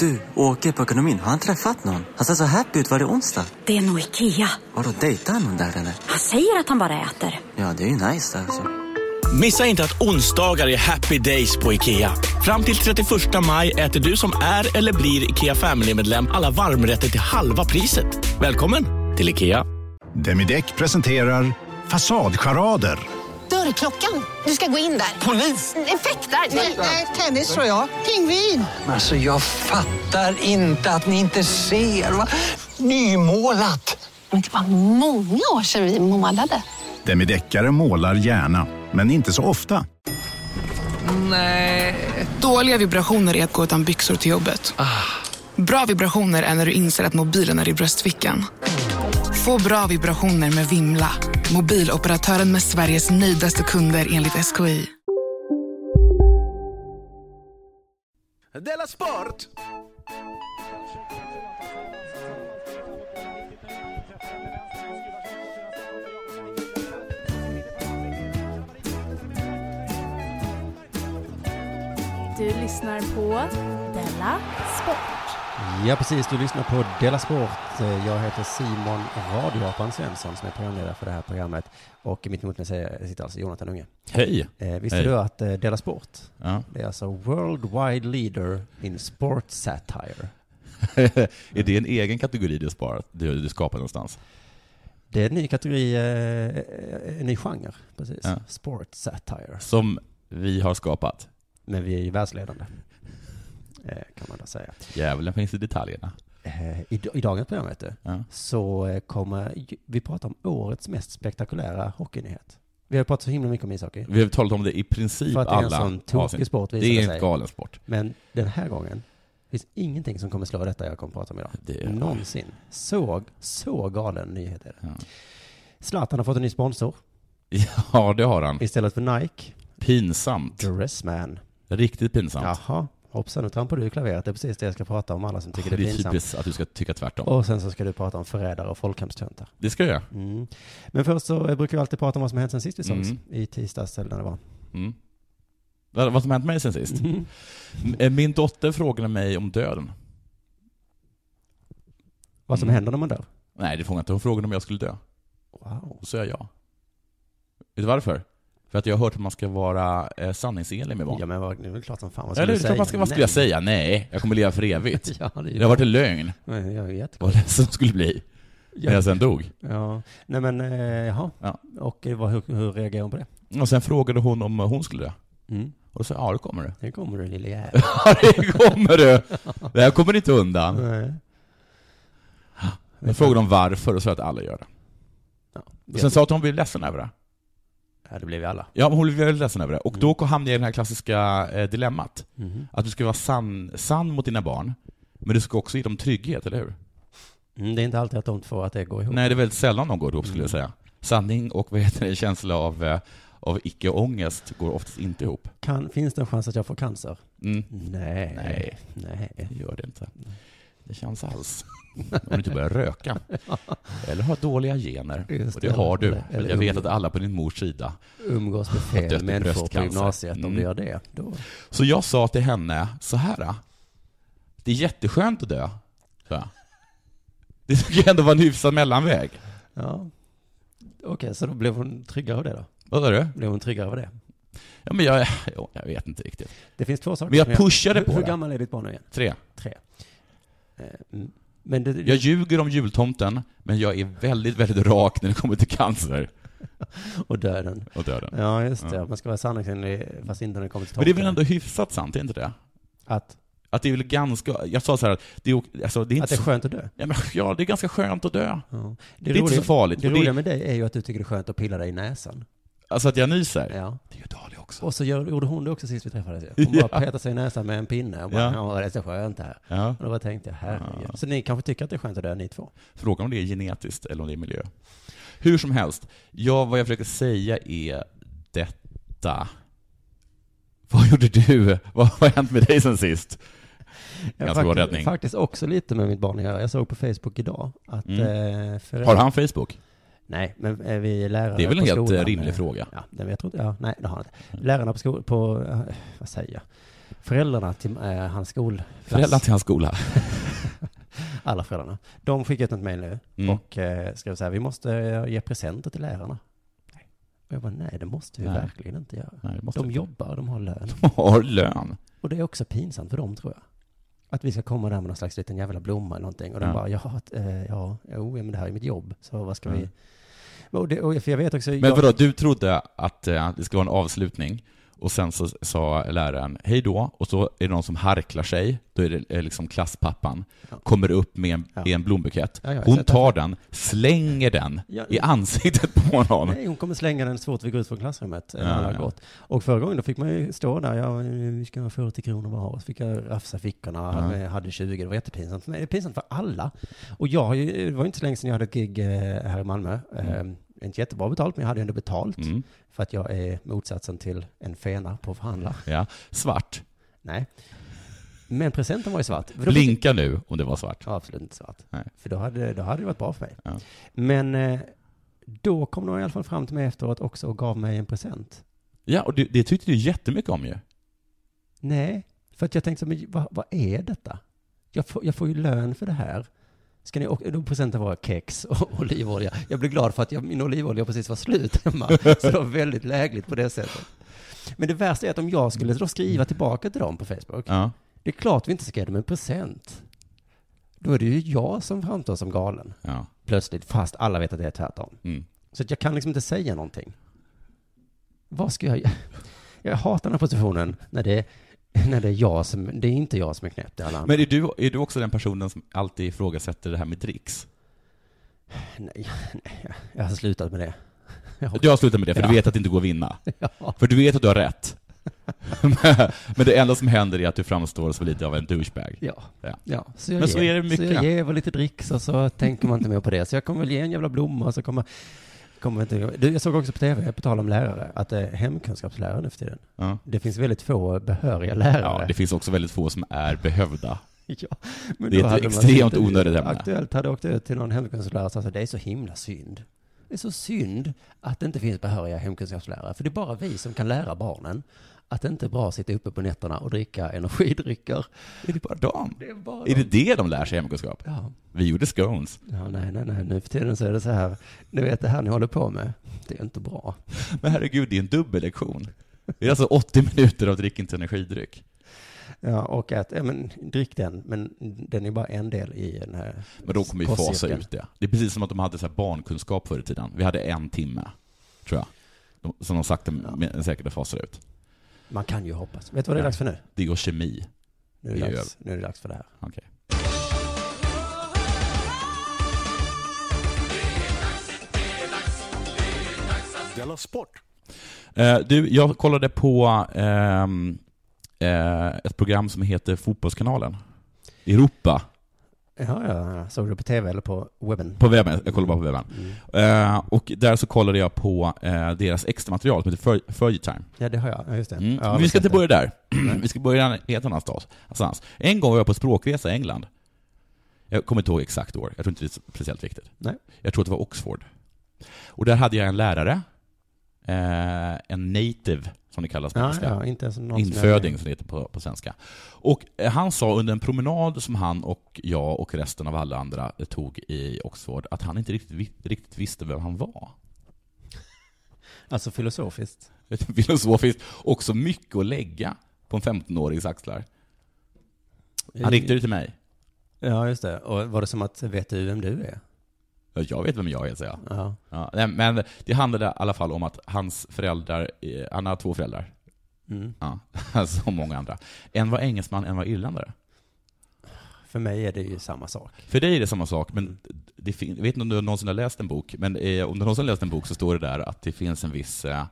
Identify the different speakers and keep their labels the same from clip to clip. Speaker 1: Du, åker på ekonomin. Har han träffat någon? Han ser så happy ut. Var det onsdag?
Speaker 2: Det är nog Ikea.
Speaker 1: Har du dejtat någon där eller?
Speaker 2: Han säger att han bara äter.
Speaker 1: Ja, det är ju nice alltså.
Speaker 3: Missa inte att onsdagar är happy days på IKEA. Fram till 31 maj äter du som är eller blir IKEA Family-medlem alla varmrätter till halva priset. Välkommen till IKEA.
Speaker 4: Demideck presenterar Fasadcharader.
Speaker 5: Dörrklockan. Du ska gå in där. Polis? Effektar? Nej, tennis tror jag. Pingvin.
Speaker 6: Alltså jag fattar inte att ni inte ser. Va? Nymålat!
Speaker 7: Men det var många år sedan vi målade.
Speaker 4: Demideckare målar gärna, men inte så ofta.
Speaker 8: Dåliga vibrationer är att gå utan byxor till jobbet. Bra vibrationer är när du inser att mobilen är i bröstfickan. Få bra vibrationer med Vimla. Mobiloperatören med Sveriges nöjdaste kunder enligt SKI.
Speaker 9: Della Sport!
Speaker 10: Du lyssnar på Della Sport.
Speaker 11: Ja, precis. Du lyssnar på Della Sport. Eh, Jag heter Simon Radioapan Svensson som är programledare för det här programmet. Och mitt emot mig säger- sitter alltså Jonathan Unge.
Speaker 12: Hej!
Speaker 11: Eh, visste
Speaker 12: Hej.
Speaker 11: du att eh, Della Sport,
Speaker 12: Ja.
Speaker 11: det är alltså worldwide leader in sport satire.
Speaker 12: är det en egen kategori du, sparar, du, du skapar någonstans?
Speaker 11: Det är en ny kategori, eh, en ny genre, precis.
Speaker 12: Ja.
Speaker 11: Sport satire.
Speaker 12: Som vi har skapat.
Speaker 11: Men vi är ju världsledande, eh, kan man då säga.
Speaker 12: Djävulen finns i detaljerna.
Speaker 11: Eh, i, I dagens program, vet du,
Speaker 12: Ja.
Speaker 11: så eh, kommer ju- vi prata om årets mest spektakulära hockeynyhet. Vi har ju pratat så himla mycket om ishockey.
Speaker 12: Vi har talat om det i princip
Speaker 11: För att det är en
Speaker 12: alla
Speaker 11: sån tokig
Speaker 12: avsnitt.
Speaker 11: sport visar
Speaker 12: Det är en
Speaker 11: sig.
Speaker 12: galen sport.
Speaker 11: Men den här gången finns ingenting som kommer slå detta jag kommer prata om idag.
Speaker 12: Det är-
Speaker 11: Någonsin. Så, så galen nyhet är det.
Speaker 12: Ja.
Speaker 11: Zlatan har fått en ny sponsor.
Speaker 12: ja, det har han.
Speaker 11: Istället för Nike,
Speaker 12: Pinsamt.
Speaker 11: Dressman.
Speaker 12: Riktigt pinsamt.
Speaker 11: Jaha, hoppsan, nu trampar du i klaveret. Det är precis det jag ska prata om, alla som tycker det är pinsamt.
Speaker 12: typiskt att du ska tycka tvärtom.
Speaker 11: Och sen så ska du prata om förrädare och folkhemstöntar.
Speaker 12: Det ska jag göra.
Speaker 11: Mm. Men först så eh, brukar vi alltid prata om vad som har hänt sen sist vi sågs.
Speaker 12: Mm.
Speaker 11: I tisdags eller när det var.
Speaker 12: Mm. Vad vad som hänt mig sen sist?
Speaker 11: Mm.
Speaker 12: M- Min dotter frågade mig om döden.
Speaker 11: Vad som
Speaker 12: Mm.
Speaker 11: händer när man dör.
Speaker 12: Nej, det frågade jag inte. Hon frågade om jag skulle dö.
Speaker 11: Wow.
Speaker 12: Då sa jag ja. Vet du varför? För att jag har hört att man ska vara eh, sanningsenlig med barn.
Speaker 11: Ja men vad, det är väl klart som fan vad
Speaker 12: Eller
Speaker 11: skulle
Speaker 12: hur?
Speaker 11: du säga?
Speaker 12: Klart man ska, vad skulle jag säga? Nej, jag kommer leva för evigt.
Speaker 11: Nej. Ja, det är ju
Speaker 12: Det har varit en lögn.
Speaker 11: Nej, Jag är jättekonstig.
Speaker 12: Vad ledsen jag skulle bli när jag sen dog.
Speaker 11: Ja, nej men eh, jaha.
Speaker 12: Ja.
Speaker 11: Och eh, vad, hur, hur reagerar hon på det?
Speaker 12: Och sen frågade hon om hon skulle dö.
Speaker 11: Mm.
Speaker 12: Och då sa jag, ja det kommer du.
Speaker 11: Nu kommer du lille jävel.
Speaker 12: Ja det kommer du! Det här kommer inte undan.
Speaker 11: Nej.
Speaker 12: Jag frågade om varför och sa att alla gör det.
Speaker 11: Ja,
Speaker 12: Och sen sa att hon blev ledsen över det.
Speaker 11: ja, det blev vi alla.
Speaker 12: Ja, men hon blev väldigt ledsen över det. Och då hamnade jag i det här klassiska eh, dilemmat.
Speaker 11: Mhm.
Speaker 12: Att du ska vara sann, sann mot dina barn, men du ska också ge dem trygghet, eller hur?
Speaker 11: Mm, det är inte alltid att de två att det går ihop.
Speaker 12: Nej, det är väldigt sällan de går ihop skulle jag säga. Sanning och vad heter det, känsla av, eh, av icke-ångest går oftast inte ihop.
Speaker 11: Kan, finns det en chans att jag får cancer?
Speaker 12: Mm.
Speaker 11: Nej.
Speaker 12: Nej,
Speaker 11: Nej.
Speaker 12: det gör det inte. Det känns alls. Om du inte börjar röka. Eller har dåliga gener.
Speaker 11: Just
Speaker 12: och det
Speaker 11: det.
Speaker 12: har du.
Speaker 11: Eller- eller
Speaker 12: jag vet
Speaker 11: ung.
Speaker 12: att alla på din mors sida.
Speaker 11: Umgås med
Speaker 12: Dött i
Speaker 11: fel människor på
Speaker 12: bröstcancer.
Speaker 11: gymnasiet om
Speaker 12: Mm.
Speaker 11: du gör det. Då.
Speaker 12: Så jag sa till henne så här. eh, Det är jätteskönt att dö. sa jag. Det ska ju ändå vara en hyfsad mellanväg.
Speaker 11: Ja. Okej, så då blev hon tryggare av det då?
Speaker 12: Vad sa du?
Speaker 11: Blev hon tryggare av det?
Speaker 12: Ja, men jag, jo, jag vet inte riktigt.
Speaker 11: Det finns två saker.
Speaker 12: Men jag
Speaker 11: som
Speaker 12: pushade
Speaker 11: hur,
Speaker 12: på
Speaker 11: Hur
Speaker 12: det.
Speaker 11: gammal är ditt barn nu igen?
Speaker 12: Tre.
Speaker 11: Tre. Eh, mm. Men det,
Speaker 12: Jag ljuger om jultomten, men jag är väldigt, väldigt rak när det kommer till cancer
Speaker 11: och döden.
Speaker 12: och döden.
Speaker 11: Ja, just det.
Speaker 12: Ja.
Speaker 11: Man ska vara sanningsenlig fast inte när det kommer till
Speaker 12: Men det är
Speaker 11: tomten.
Speaker 12: väl ändå hyfsat sant, är inte det?
Speaker 11: Att,
Speaker 12: Att det är väl ganska, jag sa så här att det är, ok- alltså, det är
Speaker 11: att
Speaker 12: inte
Speaker 11: det är
Speaker 12: så,
Speaker 11: skönt att dö.
Speaker 12: ja, men, ja, det är ganska skönt att dö.
Speaker 11: Ja.
Speaker 12: Det är inte så farligt.
Speaker 11: Det
Speaker 12: Och det-
Speaker 11: roliga med dig är ju att du tycker det är skönt att pilla dig i näsan.
Speaker 12: Alltså att jag nyser.
Speaker 11: Ja.
Speaker 12: Det är ju dåligt också.
Speaker 11: Och så gör, gjorde hon det också sist vi träffades ju. Hon bara
Speaker 12: Ja.
Speaker 11: petade sig i näsan med en pinne och bara,
Speaker 12: Ja.
Speaker 11: ja, det är så skönt det här.
Speaker 12: Ja.
Speaker 11: Och då bara tänkte jag, herregud. Så ni kanske tycker att det är skönt att dö, ni två?
Speaker 12: Frågan om det är genetiskt eller om det är miljö. Hur som helst, ja, vad jag försöker säga är detta. Vad gjorde du? Vad vad har hänt med dig sen sist?
Speaker 11: Jag
Speaker 12: Ganska bra
Speaker 11: faktiskt,
Speaker 12: räddning.
Speaker 11: faktiskt också lite med mitt barn att göra. Jag såg på Facebook idag att eh, föräldrar...
Speaker 12: Mm. Har han Facebook?
Speaker 11: Nej, men är vi lärare
Speaker 12: Det är väl en
Speaker 11: på
Speaker 12: helt eh,
Speaker 11: skolan,
Speaker 12: rimlig
Speaker 11: eh,
Speaker 12: fråga?
Speaker 11: Ja, det vet jag tror inte. Ja, nej, det har han inte. Lärarna på skolan, på, eh, vad säger jag? föräldrarna till eh, hans skolklass.
Speaker 12: Föräldrar till hans skola.
Speaker 11: Alla föräldrarna. De skickar ut något mejl nu
Speaker 12: Mm.
Speaker 11: och eh, skrev så här, vi måste eh, ge presenter till lärarna. Och jag bara, nej det måste vi
Speaker 12: Nej.
Speaker 11: verkligen inte göra.
Speaker 12: Nej, det måste
Speaker 11: de
Speaker 12: vi inte.
Speaker 11: jobbar, de har lön.
Speaker 12: De har lön.
Speaker 11: Och det är också pinsamt för dem tror jag. Att vi ska komma där med någon slags liten jävla blomma eller någonting. Och de
Speaker 12: Ja.
Speaker 11: bara, ja, eh, ja, jo, ja, men det här är mitt jobb. Så vad ska
Speaker 12: Ja.
Speaker 11: vi... Och det, och, för jag vet också...
Speaker 12: Men
Speaker 11: jag,
Speaker 12: vadå, du trodde att eh, det skulle vara en avslutning och sen så sa läraren hej då och så är det någon som harklar sig, då är det eh, liksom klasspappan, kommer upp med en, i en blombukett.
Speaker 11: Ja, ja, jag har
Speaker 12: Hon
Speaker 11: sett
Speaker 12: tar den, slänger den i ansiktet på någon.
Speaker 11: Nej, hon kommer slänga den så fort vi går ut från klassrummet.
Speaker 12: Ja,
Speaker 11: Ja, alla har
Speaker 12: ja.
Speaker 11: gått. Och förra gången då fick man ju stå där, ja, vi ska ha 40 kronor bara, och så fick jag rafsa fickorna,
Speaker 12: Ja.
Speaker 11: jag hade 20, det var jättepinsamt för mig. Det är pinsamt för alla. Och jag har ju, det var ju inte så länge sedan jag hade ett gig eh, här i Malmö.
Speaker 12: Mm.
Speaker 11: Eh, inte jättebra betalt, men jag hade ändå betalt.
Speaker 12: Mm.
Speaker 11: För att jag är motsatsen till en fena på att förhandla.
Speaker 12: Ja. Svart.
Speaker 11: Nej. Men presenten var ju svart. För då-
Speaker 12: Blinka nu om det var svart.
Speaker 11: Ja, absolut inte svart.
Speaker 12: Nej.
Speaker 11: För då hade, då hade det varit bra för mig.
Speaker 12: Ja.
Speaker 11: Men eh, då kom de i alla fall fram till mig efteråt också och gav mig en present.
Speaker 12: Ja, och det, det tyckte du jättemycket om ju.
Speaker 11: Nej, för att jag tänkte så, men vad, vad är detta? Jag får, jag får ju lön för det här. Ska ni, och då presenten var kex och olivolja. Jag blev glad för att jag, min olivolja precis var slut hemma. Så det var väldigt lägligt på det sättet. Men det värsta är att om jag skulle då skriva tillbaka till dem på Facebook.
Speaker 12: Ja.
Speaker 11: Det är klart vi inte ska ge dem en present. Då är det ju jag som framstår som galen.
Speaker 12: Ja.
Speaker 11: Plötsligt, fast alla vet att det är tvärtom.
Speaker 12: Mm.
Speaker 11: Så att jag kan liksom inte säga någonting. Vad ska jag göra? Jag hatar den här positionen när det, när det är jag som, det är inte jag som är knäpp, det är alla andra.
Speaker 12: Men är du, är du också den personen som alltid ifrågasätter det här med dricks?
Speaker 11: Nej, nej, jag har slutat med det.
Speaker 12: Du har slutat med det, för
Speaker 11: Ja.
Speaker 12: du vet att det inte går att vinna. För du vet att du har rätt. Men- Men det enda som händer är att du framstår som lite av en douchebag.
Speaker 11: Ja. Ja, så jag
Speaker 12: Men
Speaker 11: ger,
Speaker 12: så är det mycket.
Speaker 11: Så jag ger väl lite dricks och så tänker man inte mer på det. Så jag kommer väl ge en jävla blomma och så kommer, kommer inte... Du, jag såg också på tv, på tal om lärare, att det är hemkunskapslärare nu för tiden.
Speaker 12: Ja.
Speaker 11: Det finns väldigt få behöriga lärare.
Speaker 12: Ja, det finns också väldigt få som är behövda.
Speaker 11: Ja, men
Speaker 12: det är
Speaker 11: då
Speaker 12: ett
Speaker 11: hade man
Speaker 12: extremt
Speaker 11: inte-
Speaker 12: onödigt ämne.
Speaker 11: Aktuellt hade åkt ut till någon hemkunskapslärare och sagt att det är så himla synd. Det är så synd att det inte finns behöriga hemkunskapslärare. För det är bara vi som kan lära barnen att det inte är bra att sitta uppe på nätterna och dricka energidrycker.
Speaker 12: Är det bara dem?
Speaker 11: Det är bara
Speaker 12: Är det det de lär sig i hemkunskap?
Speaker 11: Ja.
Speaker 12: Vi gjorde scones.
Speaker 11: Ja, nej, nej, nej. Nu för tiden så är det så här. Ni vet det här ni håller på med. Det är inte bra.
Speaker 12: Men herregud, det är en dubbellektion. Det är alltså 80 minuter av drick inte energidryck.
Speaker 11: Ja, och att, ja, men drick den, men den är bara en del i den här
Speaker 12: Men de kommer ju fasa
Speaker 11: kostcirkeln.
Speaker 12: ut det. Det är precis som att de hade så här barnkunskap förr i tiden. Vi hade en timme, tror jag. De, som de sakta men säkert fasar ut.
Speaker 11: Man kan ju hoppas. Vet du vad det är
Speaker 12: Ja.
Speaker 11: dags för nu?
Speaker 12: Det går kemi.
Speaker 11: Nu är
Speaker 12: Det
Speaker 11: det,
Speaker 12: är ju
Speaker 11: dags, nu är det dags för det här.
Speaker 12: Okej.
Speaker 9: Della Sport.
Speaker 12: Eh, du, jag kollade på ehm, eh, ett program som heter Fotbollskanalen. Europa.
Speaker 11: Ja, ja, ja. Såg du på tv eller på webben?
Speaker 12: På webben, jag kollar bara på webben.
Speaker 9: Mm.
Speaker 12: Eh, och där så kollade jag på eh, deras extra material som heter Fur- Furry Time.
Speaker 11: Ja, det har jag. Ja, just det.
Speaker 12: Mm.
Speaker 11: Ja,
Speaker 12: Men vi ska
Speaker 11: visst
Speaker 12: inte börja där.
Speaker 11: Nej.
Speaker 12: vi ska börja i en helt annan stad. Annanstans. En gång var jag på språkresa i England. Jag kommer inte ihåg exakt år. Jag tror inte det är speciellt viktigt.
Speaker 11: Nej.
Speaker 12: Jag tror att det var Oxford. Och där hade jag en lärare. Eh, en native, som det kallas på
Speaker 11: Ja,
Speaker 12: engelska.
Speaker 11: ja, inte ens någon som
Speaker 12: Inföding, som det heter på, på svenska. Och eh, han sa under en promenad som han och jag och resten av alla andra eh, tog i Oxford, att han inte riktigt, vi- riktigt visste vem han var.
Speaker 11: Alltså filosofiskt.
Speaker 12: Filosofiskt. Också mycket att lägga på en 15-årings axlar. Han
Speaker 11: Eh,
Speaker 12: riktade ut till mig.
Speaker 11: Ja, just det. Och var det som att, vet du vem du är?
Speaker 12: Ja, Jag vet vem jag är, säger jag.
Speaker 11: Ja.
Speaker 12: Ja, nej, men det handlade i alla fall om att hans föräldrar, eh, han har två föräldrar.
Speaker 11: Mm.
Speaker 12: Ja, som många andra. En var engelsman, en var irländare.
Speaker 11: För mig är det ju samma sak.
Speaker 12: För dig är det samma sak, men det fin- jag vet inte om du någonsin har läst en bok, men eh, om du någonsin har läst en bok så står det där att det finns en viss, eh,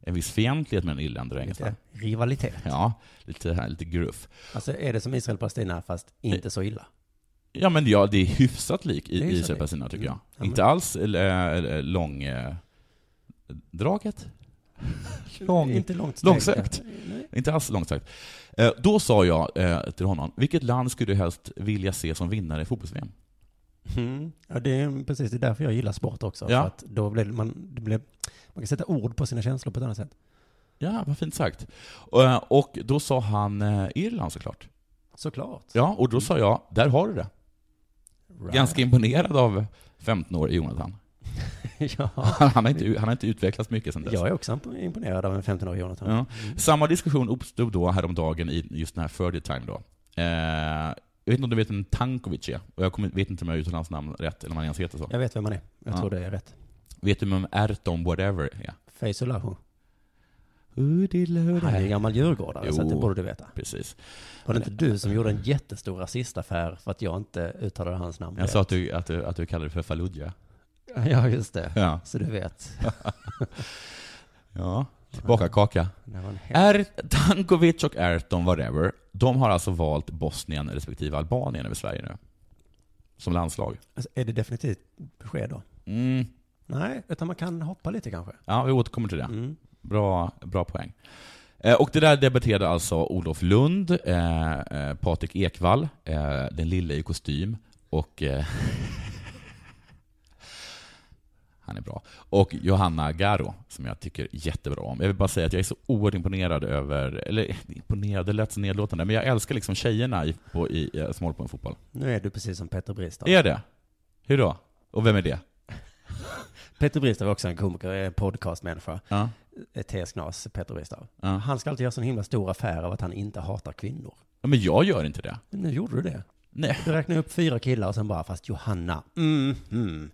Speaker 12: en viss fientlighet mellan irländare och engelsmän.
Speaker 11: Rivalitet.
Speaker 12: Ja, lite, här, lite gruff.
Speaker 11: Alltså, är det som Israel och Palestina, fast inte så illa?
Speaker 12: Ja, men ja, det är hyfsat lik i,
Speaker 11: Det är
Speaker 12: i
Speaker 11: hyfsat
Speaker 12: Israel
Speaker 11: lik.
Speaker 12: Palestina, tycker jag.
Speaker 11: Mm. Ja, men-
Speaker 12: Inte alls eh, lång... Eh, draget? Lång,
Speaker 11: Inte långt
Speaker 12: långsökt.
Speaker 11: steg, nej.
Speaker 12: Inte alls långsökt. Eh, då sa jag eh, till honom, vilket land skulle du helst vilja se som vinnare i fotbolls -VM?
Speaker 11: Mm. Ja, det är precis. Det är därför jag gillar sport också.
Speaker 12: Ja.
Speaker 11: För att då blir man, det blir, man kan sätta ord på sina känslor på ett annat sätt.
Speaker 12: Ja, vad fint sagt. Eh, Och då sa han eh, Irland såklart.
Speaker 11: Såklart.
Speaker 12: Ja, och då sa jag, där har du det. Ganska imponerad av 15-årige Jonathan. Han, har inte, han har inte utvecklats mycket sedan dess.
Speaker 11: Jag är också imponerad av en 15-årig Jonathan.
Speaker 12: Ja. Samma diskussion uppstod då häromdagen i just den här Ferdy Time då. Eh, jag vet inte om du vet vem Tankovic är? Och jag kommer, vet inte om jag uttalar hans namn rätt, eller om han ens heter så.
Speaker 11: Jag vet vem han är. Jag tror det är rätt.
Speaker 12: Vet du vem Erton Whatever är?
Speaker 11: Face Olahu.
Speaker 12: Han
Speaker 11: är en gammal djurgårdare, så
Speaker 12: Jo,
Speaker 11: det borde du veta.
Speaker 12: Precis.
Speaker 11: Var det inte du som gjorde en jättestor rasistaffär för att jag inte uttalade hans namn?
Speaker 12: Jag
Speaker 11: rätt?
Speaker 12: sa att du, att du, att du kallade det för Fallujah.
Speaker 11: Ja, just det.
Speaker 12: Ja.
Speaker 11: Så du vet.
Speaker 12: Ja, tillbaka kaka.
Speaker 11: Det var en
Speaker 12: Er, Tankovic och Erton, whatever, de har alltså valt Bosnien respektive Albanien över Sverige nu. Som landslag.
Speaker 11: Alltså, är det definitivt besked då?
Speaker 12: Mm.
Speaker 11: Nej, utan man kan hoppa lite kanske.
Speaker 12: Ja, vi återkommer till det. Bra, bra poäng. Eh, Och det där debatterade alltså Olof Lund, eh, eh, Patrik Ekwall, eh, den lille i kostym och... Eh, han är bra. Och Johanna Garo, som jag tycker jättebra om. Jag vill bara säga att jag är så oerhört imponerad över... Eller eh, imponerad, det lät så nedlåtande. Men jag älskar liksom tjejerna i, på, i, eh, som håller på med fotboll.
Speaker 11: Nu är du precis som Petter Bristav.
Speaker 12: Är det? Hur då? Och vem är det?
Speaker 11: Petter Bristav är också en komiker, är en podcastmänniska.
Speaker 12: Ja.
Speaker 11: Eh, T.S. Knas, Petter Bristav.
Speaker 12: Ja.
Speaker 11: Han ska alltid göra sån himla stor affär av att han inte hatar kvinnor.
Speaker 12: Ja, Men jag gör inte det.
Speaker 11: Men nu gjorde du det.
Speaker 12: Nej.
Speaker 11: Du räknade upp fyra killar och sen bara, fast Johanna, mm, mm.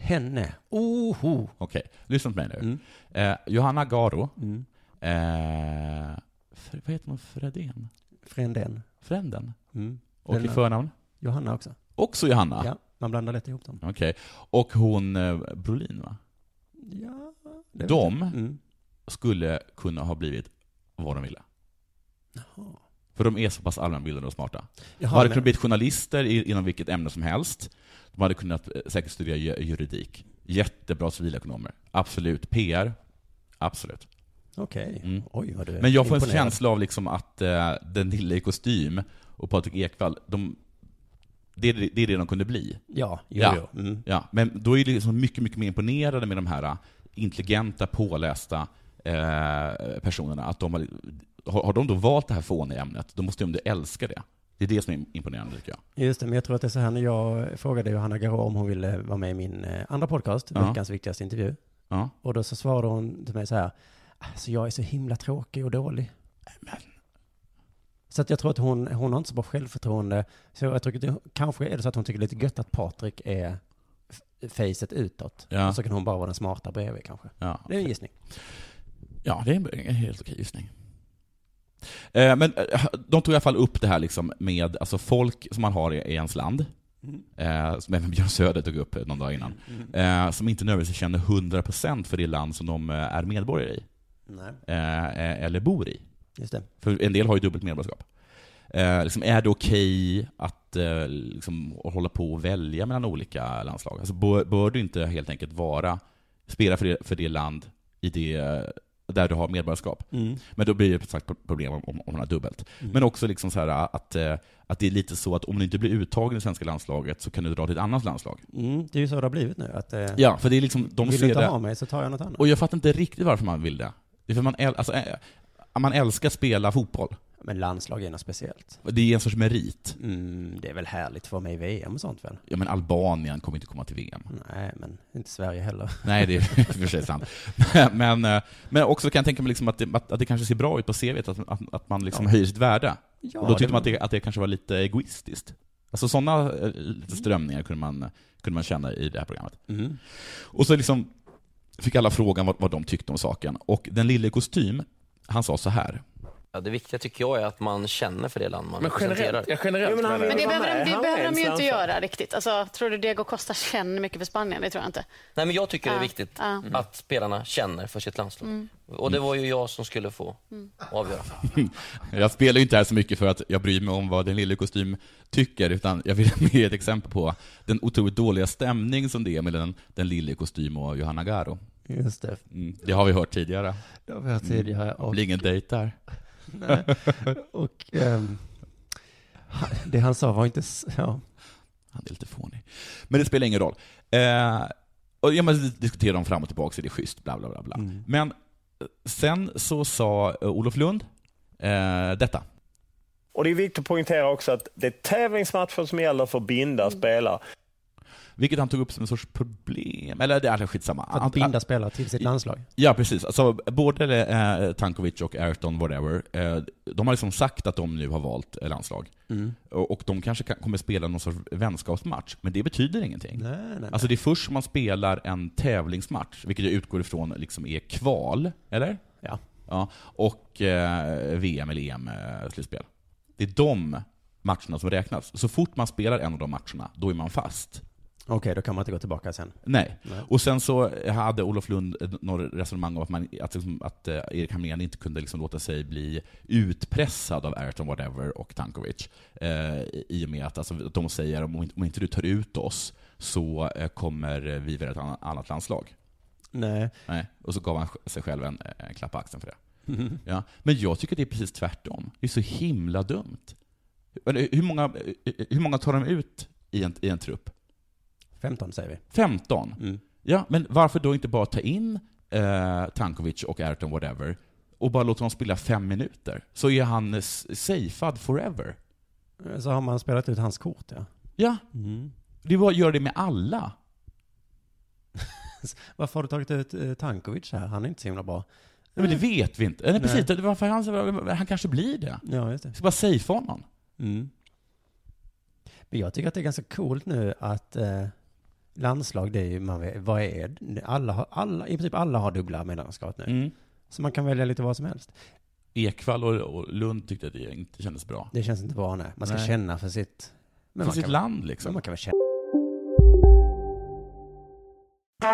Speaker 11: Henne, oho.
Speaker 12: Okej, lyssna på mig nu.
Speaker 11: Mm.
Speaker 12: Eh, Johanna Garo. Eh, Fr- vad heter hon? Fredén?
Speaker 11: Fränden.
Speaker 12: Fränden?
Speaker 11: Mm.
Speaker 12: Och i
Speaker 11: Den-
Speaker 12: förnamn?
Speaker 11: Johanna också.
Speaker 12: Också Johanna?
Speaker 11: Ja, man blandar lätt ihop dem.
Speaker 12: Okej. Och hon eh, Brolin, va?
Speaker 11: Ja, det vet
Speaker 12: De
Speaker 11: jag. Mm.
Speaker 12: skulle kunna ha blivit vad de ville.
Speaker 11: Jaha.
Speaker 12: För de är så pass allmänbildade och smarta.
Speaker 11: Jaha,
Speaker 12: de hade
Speaker 11: men-
Speaker 12: kunnat bli journalister i, inom vilket ämne som helst. De hade kunnat eh, säkert studera ju- juridik. Jättebra civilekonomer. Absolut. PR. Absolut.
Speaker 11: Okej.
Speaker 12: Mm.
Speaker 11: Oj, vad du är
Speaker 12: Men jag får en
Speaker 11: imponerad.
Speaker 12: känsla av liksom att eh, den lille i kostym och Patrik Ekwall, de, det, är det det är det de kunde bli.
Speaker 11: Ja, jo,
Speaker 12: ja.
Speaker 11: jo. Mm.
Speaker 12: ja. Men då är det liksom mycket, mycket mer imponerande med de här eh, intelligenta, pålästa eh, personerna. Att de har, har har de då valt det här fåniga ämnet, då måste de ändå älska det. Det är det som är imponerande tycker jag.
Speaker 11: Just det, men jag tror att det är så här när jag frågade Johanna Garå om hon ville vara med i min eh, andra podcast,
Speaker 12: Ja.
Speaker 11: veckans viktigaste intervju.
Speaker 12: Ja.
Speaker 11: Och då så svarade hon till mig så här, alltså jag är så himla tråkig och dålig. Så att jag tror att hon, hon har inte så bra självförtroende. Så jag tror att det, kanske är det så att hon tycker det är lite gött att Patrik är f- facet utåt.
Speaker 12: Ja.
Speaker 11: Och så kan hon bara vara den smarta bredvid kanske.
Speaker 12: Ja.
Speaker 11: Det är en gissning.
Speaker 12: Ja, det är en- en helt okej gissning. Eh, Men eh, de tog i alla fall upp det här liksom med alltså folk som man har i i ens land, eh, som även Björn Söder tog upp eh, någon dag innan, eh, som inte nödvändigtvis känner 100% för det land som de eh, är medborgare i,
Speaker 11: Nej.
Speaker 12: eh, eh, eller bor i.
Speaker 11: Just det.
Speaker 12: För en del har ju dubbelt medborgarskap. Eh, liksom, är det okej att eh, liksom, att hålla på och välja mellan olika landslag? Alltså, bör, bör du inte helt enkelt vara, spela för det, för det land i det, eh, där du har medborgarskap?
Speaker 11: Mm.
Speaker 12: Men då blir det som sagt pro- problem om, om om man har dubbelt. Men också liksom så här, eh, att, eh, att det är lite så att om du inte blir uttagen i det svenska landslaget så kan du dra till ett annat landslag.
Speaker 11: Mm, det är ju så det har blivit nu. Att, eh,
Speaker 12: Ja, för det är liksom, de
Speaker 11: vill
Speaker 12: ser
Speaker 11: du inte
Speaker 12: det...
Speaker 11: ha mig så tar jag något annat.
Speaker 12: Och jag fattar inte riktigt varför man vill det. Det är för man, äl, alltså, eh, man älskar spela fotboll.
Speaker 11: Men landslag är något speciellt.
Speaker 12: Det är en sorts merit.
Speaker 11: Mm, det är väl härligt för mig i VM och sånt väl?
Speaker 12: Ja, men Albanien kommer inte komma till VM.
Speaker 11: Nej, men inte Sverige heller.
Speaker 12: Nej, det är i och för sig sant. Men, eh, men också kan jag tänka mig liksom att, det, att, att det kanske ser bra ut på CVt, att, att, att man liksom höjer sitt värde.
Speaker 11: Ja,
Speaker 12: och då tyckte
Speaker 11: det-
Speaker 12: man att det, att det kanske var lite egoistiskt. Alltså sådana eh, lite strömningar kunde man, kunde man känna i det här programmet.
Speaker 11: Mm.
Speaker 12: Och så liksom fick alla frågan vad, vad de tyckte om saken. Och den lille i kostym, han sa så här.
Speaker 13: Ja, det viktiga tycker jag är att man känner för det land man
Speaker 14: Men generellt-
Speaker 13: representerar.
Speaker 14: ja, generellt Jo, men han menar
Speaker 15: Men det
Speaker 14: vara
Speaker 15: behöver,
Speaker 14: med.
Speaker 15: de, det
Speaker 14: Han
Speaker 15: behöver
Speaker 14: var
Speaker 15: de ju inte
Speaker 14: ensam för-
Speaker 15: göra riktigt. Alltså, tror du Diego Costa känner mycket för Spanien? Det tror jag inte.
Speaker 13: Nej, men jag tycker det är
Speaker 15: Ja,
Speaker 13: viktigt
Speaker 15: ja.
Speaker 13: att spelarna känner för sitt landslag.
Speaker 15: Mm.
Speaker 13: Och det var ju jag som skulle få avgöra.
Speaker 12: Jag spelar ju inte här så mycket för att jag bryr mig om vad den lille kostym tycker, utan jag vill ge ett exempel på den otroligt dåliga stämning som det är mellan den lille kostym och Johanna Garo.
Speaker 11: Just det.
Speaker 12: Mm, det har vi hört tidigare.
Speaker 11: Det har vi hört tidigare,
Speaker 12: Mm, Det
Speaker 11: och-
Speaker 12: blir ingen dejt där.
Speaker 11: Nej. Och ehm, ha- det han sa var inte... s- Ja.
Speaker 12: Han är lite fånig. Men det spelar ingen
Speaker 11: Mm.
Speaker 12: roll. Eh, och ja, men vi diskuterar dem fram och tillbaka, så det är schysst, bla bla bla. bla. Men Sen så sa eh, Olof Lund eh, detta.
Speaker 14: Och det är viktigt att poängtera också att det är tävlingsmatcher som gäller för binda spelare.
Speaker 12: Vilket han tog upp som en sorts problem, eller det är alltså skitsamma.
Speaker 11: För att binda spelare till sitt landslag.
Speaker 12: Ja, precis. Alltså, både eh, Tankovic och Ayrton, whatever, eh, de har liksom sagt att de nu har valt eh, landslag.
Speaker 11: Mm.
Speaker 12: Och, och de kanske kan, kommer spela någon sorts vänskapsmatch, men det betyder ingenting.
Speaker 11: Nej, nej, nej.
Speaker 12: Alltså det är först man spelar en tävlingsmatch, vilket jag utgår ifrån liksom är kval, eller?
Speaker 11: Ja.
Speaker 12: ja och eh, VM eller EM-slutspel. Det är de matcherna som räknas. Så fort man spelar en av de matcherna, då är man fast.
Speaker 11: Okej, då kan man inte gå tillbaka sen.
Speaker 12: Nej.
Speaker 11: Nej.
Speaker 12: Och sen så hade Olof Lund några resonemang om att, man, att, liksom, att eh, Erik Hamrén inte kunde liksom låta sig bli utpressad av Ayrton Whatever och Tankovic. Eh, I och med att, alltså, att de säger om inte- om inte du tar ut oss så eh, kommer vi välja ett anna- annat landslag.
Speaker 11: Nej.
Speaker 12: Nej. Och så gav han sj- sig själv en, en klapp på axeln för det.
Speaker 11: Mhm.
Speaker 12: Ja. Men jag tycker det är precis tvärtom. Det är så himla dumt. Eller Hur många, hur många tar de ut i en, i en trupp?
Speaker 11: 15 säger vi. Mm.
Speaker 12: 15? Ja, men varför då inte bara ta in eh, Tankovic och Ayrton whatever och bara låta dem spela fem minuter? Så är han eh, s- safead forever.
Speaker 11: Så har man spelat ut hans kort, ja.
Speaker 12: Ja.
Speaker 11: Mm.
Speaker 12: Det är bara att göra det med alla.
Speaker 11: Varför har du tagit ut eh, Tankovic här? Han är inte så himla bra.
Speaker 12: Nej, men det
Speaker 11: Mm.
Speaker 12: vet vi inte. Eller precis, det var för han, han kanske blir det.
Speaker 11: Ja, just det.
Speaker 12: Ska bara safea honom.
Speaker 11: Mm. Men jag tycker att det är ganska coolt nu att eh, landslag, det är ju, man vet, vad är det? alla, har- alla, I princip alla har dubbla medlemskap nu. Så man kan välja lite vad som helst.
Speaker 12: Ekvall och, och Lund tyckte att det inte kändes bra.
Speaker 11: Det känns inte bra nej. Man ska
Speaker 12: Nej.
Speaker 11: känna för sitt...
Speaker 12: För
Speaker 11: man
Speaker 12: sitt
Speaker 11: kan-
Speaker 12: land, liksom.
Speaker 11: men Man kan väl känna.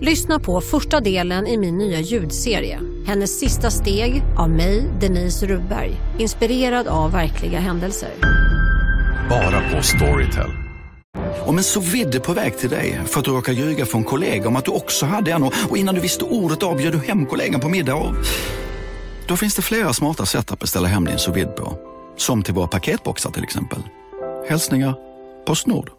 Speaker 16: Lyssna på första delen i min nya ljudserie. Hennes sista steg av mig, Denise Rubberg. Inspirerad av verkliga händelser.
Speaker 17: Bara på Storytel.
Speaker 18: Om en så vidde på väg till dig för att du råkar ljuga från kollega om att du också hade en och och innan du visste ordet av bjöd du hem kollegan på middag och... Då finns det flera smarta sätt att beställa hem din sous vide på. Som till våra paketboxar till exempel. Hälsningar Postnord.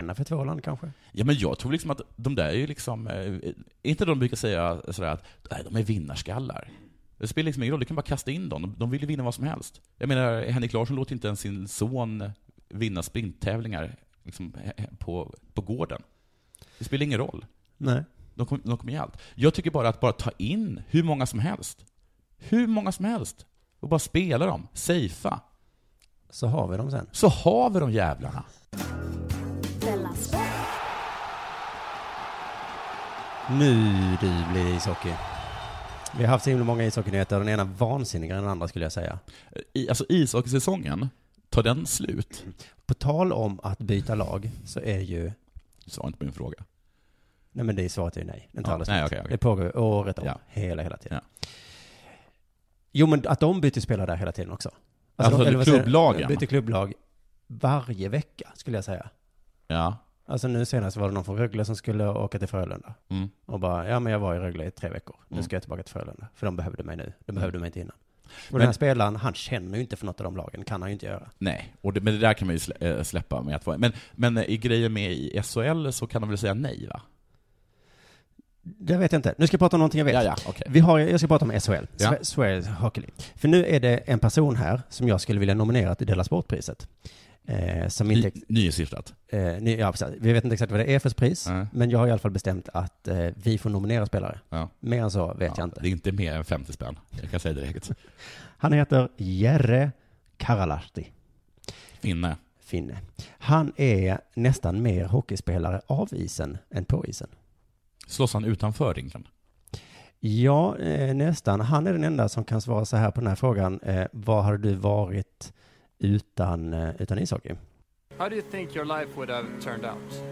Speaker 11: Känna för tvålan kanske.
Speaker 12: Ja, men jag tror liksom att de där är ju liksom... eh, Är inte de brukar säga sådär att nej, de är vinnarskallar? Det spelar liksom ingen roll, du kan bara kasta in dem. De- De vill ju vinna vad som helst. Jag menar, Henrik Larsson låter inte ens sin son vinna sprinttävlingar liksom, eh, på, på gården. Det spelar ingen roll.
Speaker 11: Nej.
Speaker 12: De kommer de kommer ge allt. Jag tycker bara att bara ta in hur många som helst. Hur många som helst. Och bara spela dem. Safea.
Speaker 11: Så har vi dem sen.
Speaker 12: Så har vi de jävlarna.
Speaker 10: Della Sport.
Speaker 11: Nu du blir det ishockey. Vi har haft så himla många ishockeynyheter. Den ena vansinnigare än den andra skulle jag säga.
Speaker 12: I, alltså ishockeysäsongen, tar den slut?
Speaker 11: På tal om att byta lag så är ju...
Speaker 12: Du svarade inte på min fråga.
Speaker 11: Nej men det är svaret är ju nej. Den tar
Speaker 12: Ja,
Speaker 11: aldrig
Speaker 12: nej,
Speaker 11: slut.
Speaker 12: okej, okej.
Speaker 11: Det pågår ju året om.
Speaker 12: Ja.
Speaker 11: Hela, hela tiden. Jo men att de byter spelare där hela tiden också.
Speaker 12: Alltså,
Speaker 11: eller vad säger-
Speaker 12: klubblagen?
Speaker 11: Byter klubblag varje vecka skulle jag säga.
Speaker 12: Ja.
Speaker 11: Alltså nu senast var det någon från Rögle som skulle åka till Frölunda.
Speaker 12: Mm.
Speaker 11: Och bara, ja men jag var i Rögle i tre veckor. Nu
Speaker 12: Mm.
Speaker 11: ska jag tillbaka till Frölunda. För de behövde mig nu. De
Speaker 12: Mm.
Speaker 11: behövde mig inte innan. Och
Speaker 12: Men-
Speaker 11: den här spelaren, han känner ju inte för något av de lagen. Kan han ju inte göra.
Speaker 12: Nej, och det, men det där kan man ju slä- eh, släppa med att vara... Men, men eh, i grejer med i SHL så kan de väl säga nej, va?
Speaker 11: Det vet jag inte. Nu ska jag prata om någonting jag vet.
Speaker 12: Ja, ja, okej.
Speaker 11: vi har, jag ska prata om SHL.
Speaker 12: Ja.
Speaker 11: Sve- Swedish Hockey League. För nu är det en person här som jag skulle vilja nominera till Della Sportpriset. Eh, som inte...
Speaker 12: Ny- Nyinsyftat.
Speaker 11: Eh, ny, ja, precis. Vi vet inte exakt vad det är för pris,
Speaker 12: Nej.
Speaker 11: men jag har i alla fall bestämt att eh, vi får nominera spelare.
Speaker 12: Ja.
Speaker 11: Mer än så vet
Speaker 12: Ja,
Speaker 11: jag inte.
Speaker 12: Det är inte mer än 50 spänn, jag kan säga direkt.
Speaker 11: Han heter Jere Karalahti.
Speaker 12: Finne.
Speaker 11: Finne. Han är nästan mer hockeyspelare av isen än på isen.
Speaker 12: Slåss han utanför ringen?
Speaker 11: Ja, eh, nästan. Han är den enda som kan svara så här på den här frågan. Eh, vad hade du varit utan, eh, utan ishockey?
Speaker 19: How do you think your life would have turned out?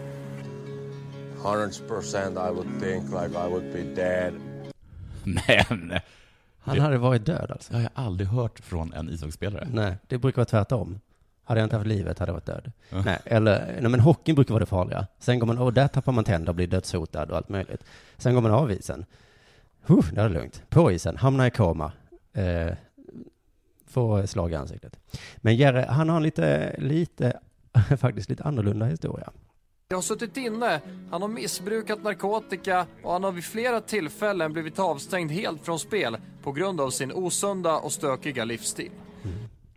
Speaker 20: 100% I would think like I would be dead.
Speaker 12: Men...
Speaker 11: Han hade varit död alltså?
Speaker 12: Det har jag aldrig hört från en ishockeyspelare.
Speaker 11: Nej, det brukar vara tvärtom. Hade jag inte haft livet hade jag varit död. Nej, eller, nej, men hockeyn brukar vara det farliga. Sen går man, och där tappar man tänder och blir dödshotad och allt möjligt. Sen går man av isen. Huh, det är lugnt. På isen, hamnar i koma. Eh, får slag i ansiktet. Men Jerry, han har en lite, lite, faktiskt lite annorlunda historia.
Speaker 19: Jag har suttit inne, han har missbrukat narkotika och han har vid flera tillfällen blivit avstängd helt från spel på grund av sin osunda och stökiga livsstil.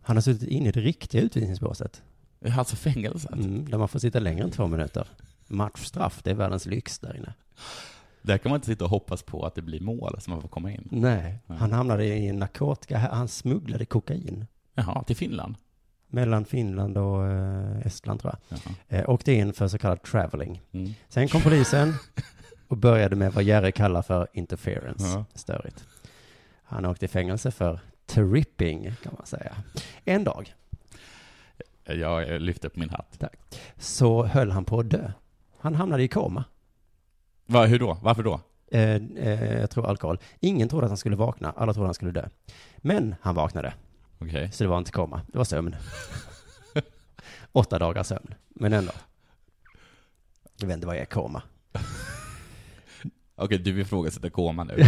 Speaker 11: Han har suttit inne i det riktiga utvisningsbåset.
Speaker 12: Alltså fängelset?
Speaker 11: Mm, där man får sitta längre än två minuter. Matchstraff, det är världens lyx där inne.
Speaker 12: Där kan man inte sitta och hoppas på att det blir mål så man får komma in.
Speaker 11: Nej, han hamnade i en narkotika, han smugglade kokain.
Speaker 12: Jaha, till Finland?
Speaker 11: Mellan Finland och eh, Estland tror jag. Eh, Åkte in för så kallad traveling. Sen kom polisen och började med vad Jerry kallar för interference.
Speaker 12: Ja.
Speaker 11: Störigt. Han åkte i fängelse för tripping kan man säga. En dag
Speaker 12: Jag eh, lyfter på min hatt.
Speaker 11: så höll han på att dö. Han hamnade i koma.
Speaker 12: Va, hur då? Varför då?
Speaker 11: Eh, eh, jag tror alkohol. Ingen trodde att han skulle vakna, alla trodde han skulle dö. Men han vaknade.
Speaker 12: Okej.
Speaker 11: Så det var inte komma, det var sömn. Åtta dagar sömn, men ändå. Jag vet inte vad jag är komma.
Speaker 12: Okej, du ifrågasätter koma nu.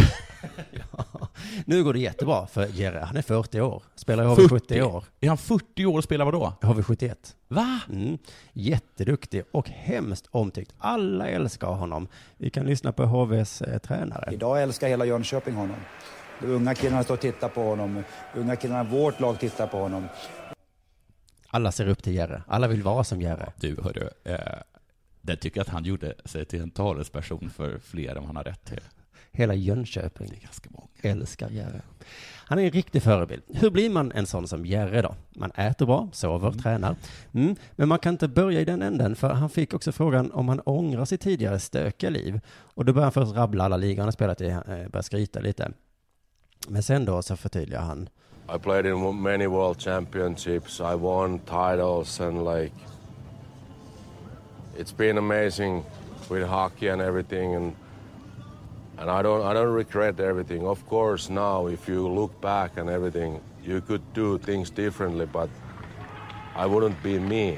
Speaker 11: Nu går det jättebra för Jerry, han är 40 år. Spelar i HV70
Speaker 12: 40?
Speaker 11: år.
Speaker 12: Är han 40 år och spelar vadå?
Speaker 11: HV71.
Speaker 12: Va?
Speaker 11: Mm. Jätteduktig och hemskt omtyckt. Alla älskar honom. Vi kan lyssna på HVs eh, tränare.
Speaker 20: Idag älskar hela Jönköping honom. De unga killarna står och tittar på honom. Unga killarna i vårt lag tittar på honom.
Speaker 11: Alla ser upp till Jerry. Alla vill vara som Jerry.
Speaker 12: Du, hörru. Eh, där tycker jag att han gjorde sig till en talesperson för fler än han har rätt till.
Speaker 11: Hela Jönköping älskar Jerre. Han är en riktig förebild. Hur blir man en sån som Jerre då? Man äter bra, sover, tränar. Mm. Men man kan inte börja i den änden, för han fick också frågan om han ångrar sitt tidigare stökiga liv. Och då börjar han först rabbla alla ligor han har spelat i, eh, börjar skryta lite. Men sen då så förtydligar han.
Speaker 21: I played in w- many world championships. I won titles and like it's been amazing with hockey and everything and and I don't I don't regret everything. Of course now if you look back and everything you could do things differently but I wouldn't be me.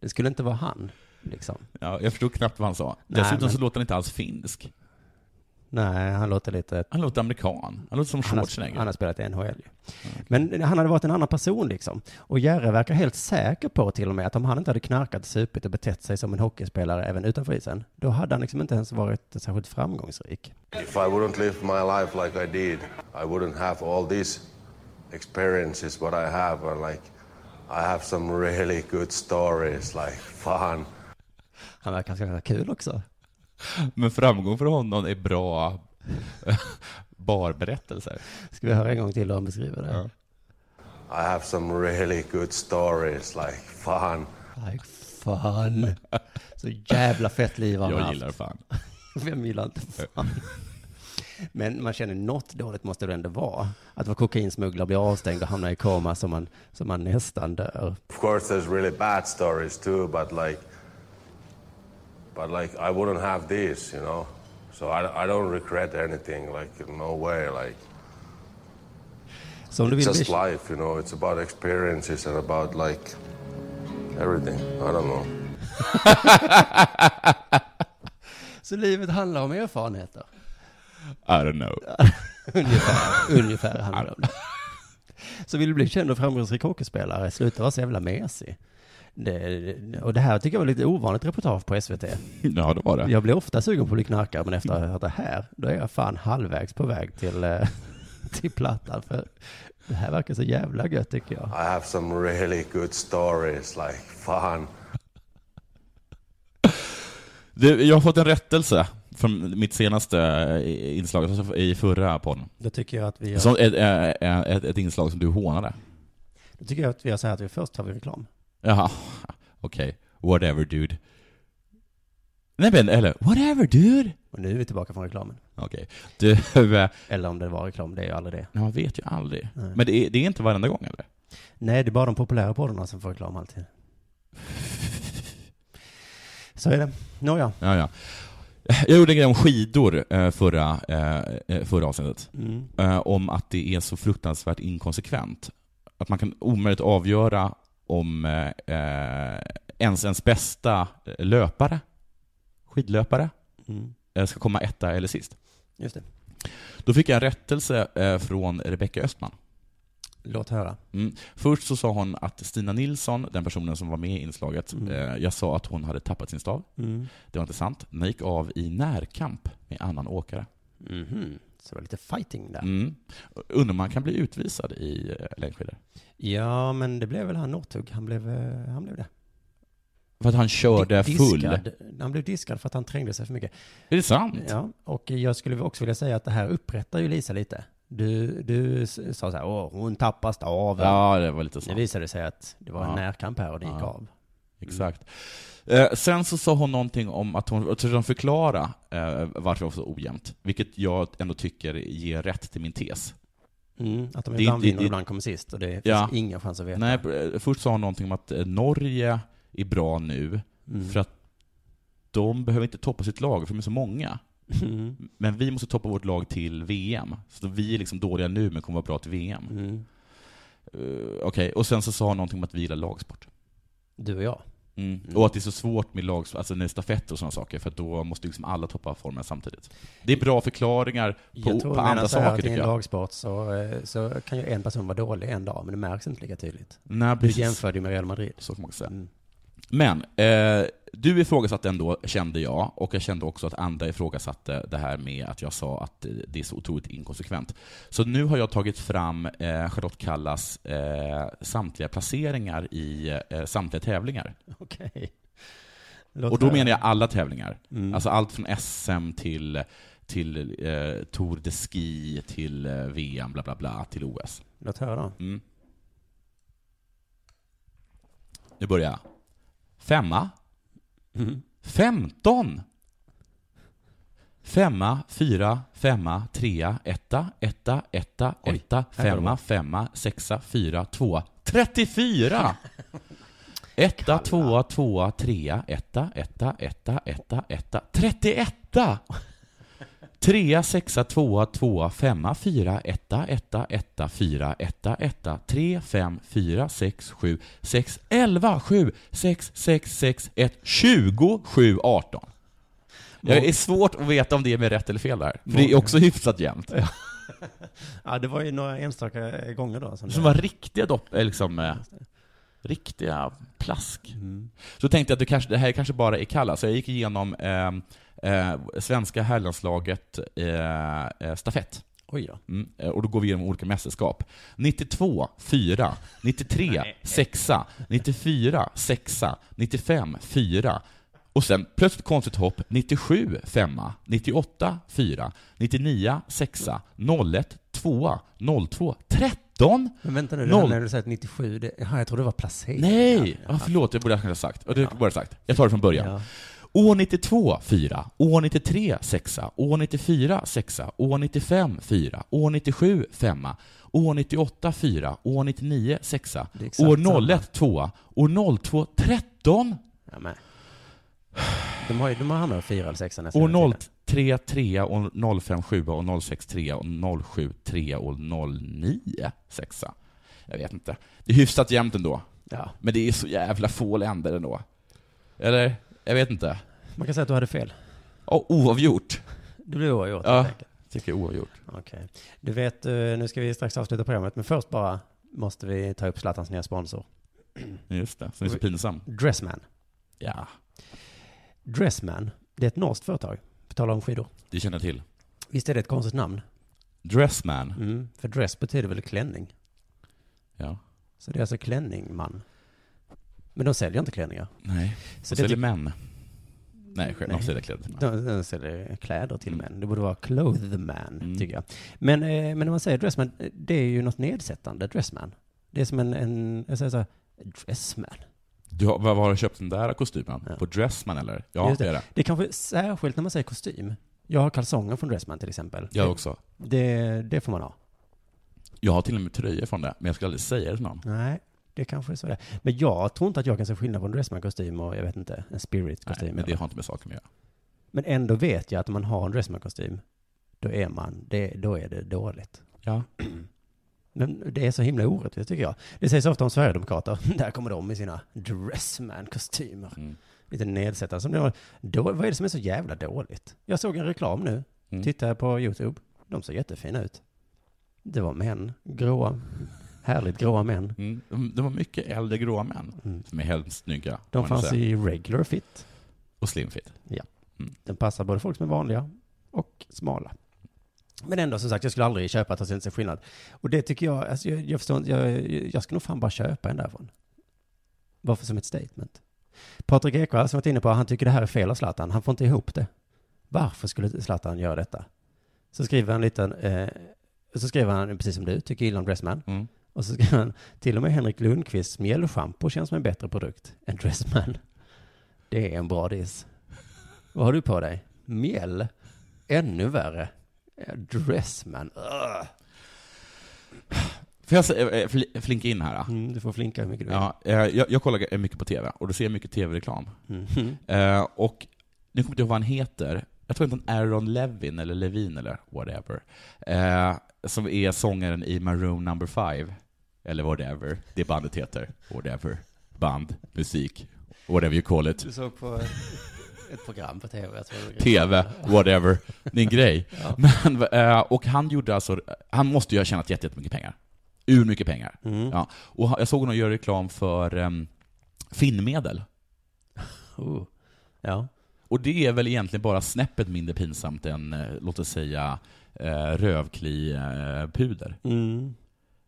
Speaker 11: Det skulle inte vara han, liksom.
Speaker 12: Ja, jag förstod knappt vad han sa.
Speaker 11: Nej,
Speaker 12: Dessutom så
Speaker 11: men-
Speaker 12: låter han inte alls finsk.
Speaker 11: Nej, han låter lite...
Speaker 12: Han låter amerikan. Han låter som
Speaker 11: Han har-
Speaker 12: Schwarzenegger. Mm.
Speaker 11: han har spelat i NHL ju. Men han hade varit en annan person liksom. Och Jerre verkar helt säker på till och med att om han inte hade knarkat, supit och betett sig som en hockeyspelare även utanför isen, då hade han liksom inte ens varit särskilt framgångsrik.
Speaker 21: If I wouldn't live my life like I did, I wouldn't have all these experiences what I have. And like, I have some really good stories, like fun.
Speaker 11: Han verkar ganska kul också.
Speaker 12: Men framgång för honom är bra barberättelser.
Speaker 11: Ska vi höra en gång till hur han beskriver det?
Speaker 21: I have some really good stories, like fun.
Speaker 11: Like fan. Så jävla fett liv han
Speaker 12: Jag
Speaker 11: haft.
Speaker 12: gillar fan.
Speaker 11: Vem gillar inte fan? Men man känner något dåligt måste det ändå vara. Att vara kokainsmugglare, bli avstängd och hamna i koma som man, som man nästan dör.
Speaker 21: Of course, there's really bad stories too, but like, but like, I wouldn't have these, you know. So I, I don't regret anything, like, no way, like.
Speaker 11: Så om du
Speaker 21: It's
Speaker 11: vill bli
Speaker 21: just life, you know. It's about experiences and about like everything. I don't know.
Speaker 11: Så livet handlar om erfarenheter?
Speaker 12: I don't know.
Speaker 11: ungefär, ungefär handlar det om det. Så vill du bli känd och framgångsrik hockeyspelare, sluta vara så jävla mesig. Det, och det här tycker jag var lite ovanligt reportage på SVT.
Speaker 12: Ja, det var det.
Speaker 11: Jag blir ofta sugen på att bli knarkare, men efter att ha hört det här, då är jag fan halvvägs på väg till, eh, till plattan. För det här verkar så jävla gött tycker jag.
Speaker 21: I have some really good stories, like fun.
Speaker 12: Du, jag har fått en rättelse från mitt senaste eh, inslag, alltså i förra podden.
Speaker 11: Då tycker jag att vi gör,
Speaker 12: Som ett, eh, ett, ett inslag som du hånade.
Speaker 11: då tycker jag att vi gör så här att vi först har vi reklam.
Speaker 12: Jaha, okej. Whatever dude. Nej men, eller whatever dude.
Speaker 11: Och nu är vi tillbaka från reklamen.
Speaker 12: Okej. Du, eh,
Speaker 11: Eller om det var reklam, det är ju aldrig det.
Speaker 12: man vet ju aldrig.
Speaker 11: Nej.
Speaker 12: Men det är, det är inte varenda gång eller?
Speaker 11: Nej, det är bara de populära poddarna som får reklam alltid. Så är det. Nåja,
Speaker 12: Ja, ja. Jag gjorde en grej om skidor eh, förra, eh, förra avsnittet.
Speaker 11: Mm.
Speaker 12: Eh, Om att det är så fruktansvärt inkonsekvent. Att man kan omöjligt avgöra om eh, eh, ens, ens bästa eh, löpare, skidlöpare,
Speaker 11: Mm.
Speaker 12: eh, ska komma etta eller sist.
Speaker 11: Just det.
Speaker 12: Då fick jag en rättelse eh, från Rebecka Östman.
Speaker 11: Låt höra.
Speaker 12: Mm. Först så sa hon att Stina Nilsson, den personen som var med i inslaget, eh, jag sa att hon hade tappat sin stav.
Speaker 11: Mm.
Speaker 12: Det var inte sant. Den gick av i närkamp med annan åkare.
Speaker 11: Mhm. Så det var lite fighting där.
Speaker 12: Mm. Undrar om man kan bli utvisad i eh, längdskidor?
Speaker 11: Ja, men det blev väl han Northug. Han blev, eh, han blev det.
Speaker 12: För att han körde
Speaker 11: Di-
Speaker 12: full?
Speaker 11: diskad. Han blev diskad för att han trängde sig för mycket.
Speaker 12: Är det sant?
Speaker 11: Ja, och jag skulle också vilja säga att det här upprättar ju Lisa lite. Du, du s- sa så här, Åh, hon tappar staven.
Speaker 12: Ja, det var lite så.
Speaker 11: Det visade sig att det var en
Speaker 12: Ja.
Speaker 11: närkamp här och det gick
Speaker 12: Ja.
Speaker 11: av.
Speaker 12: Exakt. Eh, sen så sa hon någonting om att hon, jag tror hon förklara eh, varför det var så ojämnt, vilket jag ändå tycker ger rätt till min tes.
Speaker 11: Mm, att de
Speaker 12: Det är
Speaker 11: ibland
Speaker 12: inte-
Speaker 11: vinner och
Speaker 12: det-
Speaker 11: ibland kommer sist och det finns
Speaker 12: Ja.
Speaker 11: inga chanser att veta.
Speaker 12: Nej, eh, först sa hon någonting om att eh, Norge är bra nu,
Speaker 11: Mm.
Speaker 12: för att de behöver inte toppa sitt lag, för de är så många.
Speaker 11: Mm.
Speaker 12: Men vi måste toppa vårt lag till VM. Så vi är liksom dåliga nu, men kommer vara bra till VM.
Speaker 11: Mm.
Speaker 12: Eh, Okej, och sen så sa hon någonting om att vi gillar lagsport.
Speaker 11: Du och jag.
Speaker 12: Mm. Och att det är så svårt med lag, alltså när det är stafetter och sådana saker, för att då måste liksom alla toppa formen samtidigt. Det är bra förklaringar på,
Speaker 11: Jag tror
Speaker 12: på
Speaker 11: medan
Speaker 12: andra
Speaker 11: så här,
Speaker 12: saker,
Speaker 11: att i
Speaker 12: tycker jag.
Speaker 11: en lagsport så, eh, så kan ju en person vara dålig en dag, men det märks inte lika tydligt.
Speaker 12: Nej,
Speaker 11: du
Speaker 12: precis.
Speaker 11: jämförde ju med Real Madrid.
Speaker 12: Så kan man också säga.
Speaker 11: Mm.
Speaker 12: Men, eh, du ifrågasatte ändå, kände jag, och jag kände också att andra ifrågasatte det här med att jag sa att eh, det är så otroligt inkonsekvent. Så nu har jag tagit fram eh, Charlotte Kallas eh, samtliga placeringar i eh, samtliga tävlingar.
Speaker 11: Okej.
Speaker 12: och då menar jag alla tävlingar. Alltså allt från SM till, till eh, Tour de Ski, till eh, VM, bla bla bla, till OS.
Speaker 11: Låt höra.
Speaker 12: Mm. Nu börjar jag. Femma.
Speaker 11: Mm.
Speaker 12: Femton! Femma, fyra, femma, trea, etta, etta, etta, etta,
Speaker 11: här var det
Speaker 12: femma, femma, sexa, fyra, tvåa, 34! Etta, tvåa, tvåa, trea, etta, etta, etta, etta, etta, 31! Trea, sexa, tvåa, tvåa, femma, fyra, etta, etta, etta, fyra, etta, etta, tre, fem, fyra, sex, sju, sex, elva, sju, sex, sex, sex, ett, tjugo, sju, arton. Det är svårt att veta om det är med rätt eller fel där. För det är också hyfsat jämnt.
Speaker 11: Ja, det var ju några enstaka eh, gånger då. Som,
Speaker 12: Som
Speaker 11: det-
Speaker 12: var riktiga dopp, eh, liksom, eh, riktiga plask. Så tänkte jag att det, kanske, det här kanske bara är kalla, så jag gick igenom eh, eh, svenska herrlandslaget eh, eh, stafett.
Speaker 11: Oj då.
Speaker 12: Mm, eh, och då går vi igenom olika mästerskap. 92, 4, 93, 6, 94, 6, 95, 4. Och sen plötsligt konstigt hopp, 97, 5, 98, 4, 99, 6, 01, 2, 02, 13,
Speaker 11: Men vänta nu, det här
Speaker 12: Noll.
Speaker 11: när du säger att 97, det, ja, jag trodde det var placering.
Speaker 12: Nej! Ja, förlåt, jag borde ha sagt. Och det borde jag ha sagt. Jag tar det från början.
Speaker 11: Ja.
Speaker 12: År 92, 4. År 93, 6. År 94, 6. År 95, 4. År 97, 5. År 98, 4. År 99, 6.
Speaker 11: Det är exakt
Speaker 12: År 01, 2. År 02, 13.
Speaker 11: Ja, men. De har ju, de har hamnat på fyra eller sexa nästan. hela
Speaker 12: År 03,
Speaker 11: tiden.
Speaker 12: 3. År 05, 7. År 06, 3. År 07, 3. År 09, 6. Jag vet inte. Det är hyfsat jämnt ändå.
Speaker 11: Ja.
Speaker 12: Men det är så jävla få länder ändå. Eller? Jag vet inte.
Speaker 11: Man kan säga att du hade fel.
Speaker 12: Oh, oavgjort.
Speaker 11: Det blev oavgjort
Speaker 12: Ja,
Speaker 11: helt enkelt.
Speaker 12: tycker jag är oavgjort.
Speaker 11: Okej. Du vet, eh, nu ska vi strax avsluta programmet, men först bara måste vi ta upp Zlatans nya sponsor.
Speaker 12: Just det, som är så pinsam.
Speaker 11: Dressman.
Speaker 12: Ja,
Speaker 11: Dressman, det är ett norskt företag. På tal om skidor.
Speaker 12: det känner jag till.
Speaker 11: Visst är det ett konstigt namn?
Speaker 12: Dressman.
Speaker 11: Mm, för dress betyder väl klänning?
Speaker 12: Ja.
Speaker 11: Så det är alltså klänning, man. Men de säljer inte klänningar.
Speaker 12: Nej.
Speaker 11: Så
Speaker 12: Så
Speaker 11: det-
Speaker 12: säljer män. Nej, själv.
Speaker 11: Nej.
Speaker 12: De säljer kläder till män. Mm.
Speaker 11: De, de säljer kläder till män. Det borde vara clothman, tycker jag. Men, eh, men när man säger dressman, eh, det är ju något nedsättande, dressman. Det är som en, en jag säger så här, dressman.
Speaker 12: Du har, var har du köpt den där kostymen? På Dressman eller? Ja,
Speaker 11: Just
Speaker 12: det är det.
Speaker 11: Det är kanske särskilt när man säger kostym. Jag har kalsonger från dressman till exempel.
Speaker 12: Jag också.
Speaker 11: Det, det får man ha.
Speaker 12: Jag har till och med tröjor från det, men jag ska aldrig säga det till någon.
Speaker 11: Nej, det kanske är så det är. Men jag tror inte att jag kan se skillnad på en dressman-kostym och, jag vet inte, en spirit-kostym.
Speaker 12: Nej, men det har inte med saken att göra.
Speaker 11: Men ändå vet jag att om man har en Dressman-kostym, då är man, det, då är det dåligt.
Speaker 12: Ja.
Speaker 11: Men det är så himla orättvist tycker jag. Det sägs ofta om Sverigedemokrater, där kommer de i sina Dressman-kostymer.
Speaker 12: Mm.
Speaker 11: Lite nedsättande. Som det var, då, vad är det som är så jävla dåligt? Jag såg en reklam nu,
Speaker 12: Mm.
Speaker 11: tittade på YouTube. De såg jättefina ut. Det var män, gråa, härligt gråa män.
Speaker 12: Mm. De- Det var mycket äldre gråa män som är hemskt snygga. får
Speaker 11: De
Speaker 12: man
Speaker 11: fanns
Speaker 12: säga.
Speaker 11: i regular fit.
Speaker 12: Och slim fit.
Speaker 11: Ja. Den passar både folk som är vanliga och smala. Men ändå som sagt, jag skulle aldrig köpa ett att jag inte ser skillnad. Och det tycker jag, alltså, jag, jag förstår inte, jag, jag ska nog fan bara köpa en därifrån. Varför som ett statement? Patrik Ekwall som jag varit inne på, han tycker det här är fel av Zlatan, han får inte ihop det. Varför skulle Zlatan göra detta? Så skriver han en liten, eh, så skriver han precis som du, tycker illa om Dressman. Och så skriver han, till och med Henrik Lundqvists mjällschampo känns som en bättre produkt än Dressman. Det är en bra diss. Vad har du på dig? Mjäll? Ännu värre. Eh, Dressman. Ugh.
Speaker 12: Får jag se- eh, fl- flinka in här? då?
Speaker 11: Mm, du får flinka hur mycket du vill.
Speaker 12: Ja, eh, jag, jag kollar g- mycket på TV och då ser jag mycket TV-reklam.
Speaker 11: Mhm.
Speaker 12: Eh, Och nu kommer jag inte ihåg vad han heter. Jag tror inte han Aaron Levin eller Levin eller whatever. Eh, Som är sångaren i Maroon Number Five Eller whatever det bandet heter. Whatever. Band, musik, whatever you call it.
Speaker 11: Du såg på ett program på tv. Jag tror.
Speaker 12: TV, whatever, din grej.
Speaker 11: Ja.
Speaker 12: Men, eh, och han gjorde alltså, han måste ju ha tjänat jätte- jättemycket pengar. Ur mycket pengar. Ja. Och han- jag såg honom göra reklam för um, Finnmedel.
Speaker 11: Oh. Ja.
Speaker 12: Och det är väl egentligen bara snäppet mindre pinsamt än, eh, låt oss säga, eh, rövkli-puder.
Speaker 11: Mm.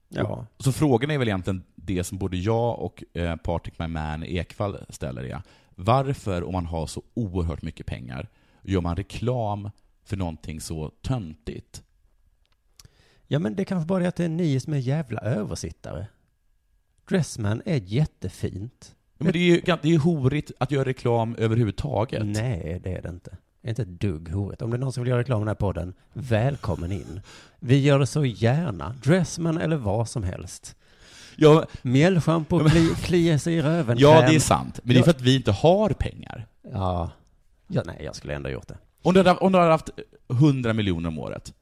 Speaker 11: Ja.
Speaker 12: Så frågan är väl egentligen det som både jag och eh, Patrik My Man Ekwall ställer är. Varför, om man har så oerhört mycket pengar, gör man reklam för någonting så töntigt?
Speaker 11: ja, men det kanske bara är att det är ni som är jävla översittare. Dressman är jättefint.
Speaker 12: Ja, Men det är ju gan- det är ju horigt att göra reklam överhuvudtaget.
Speaker 11: Nej, det är det inte. Det är inte ett dugg horigt. Om det är någon som vill göra reklam i den här podden, välkommen in. Vi gör det så gärna. Dressman eller vad som helst.
Speaker 12: Ja,
Speaker 11: Mjällschampo, kli, klia sig i röven.
Speaker 12: Ja,
Speaker 11: kräm.
Speaker 12: det är sant. Men det är för att vi inte har pengar.
Speaker 11: Ja. ja, nej, jag skulle ändå gjort det.
Speaker 12: Om du hade, om du hade haft 100 miljoner om året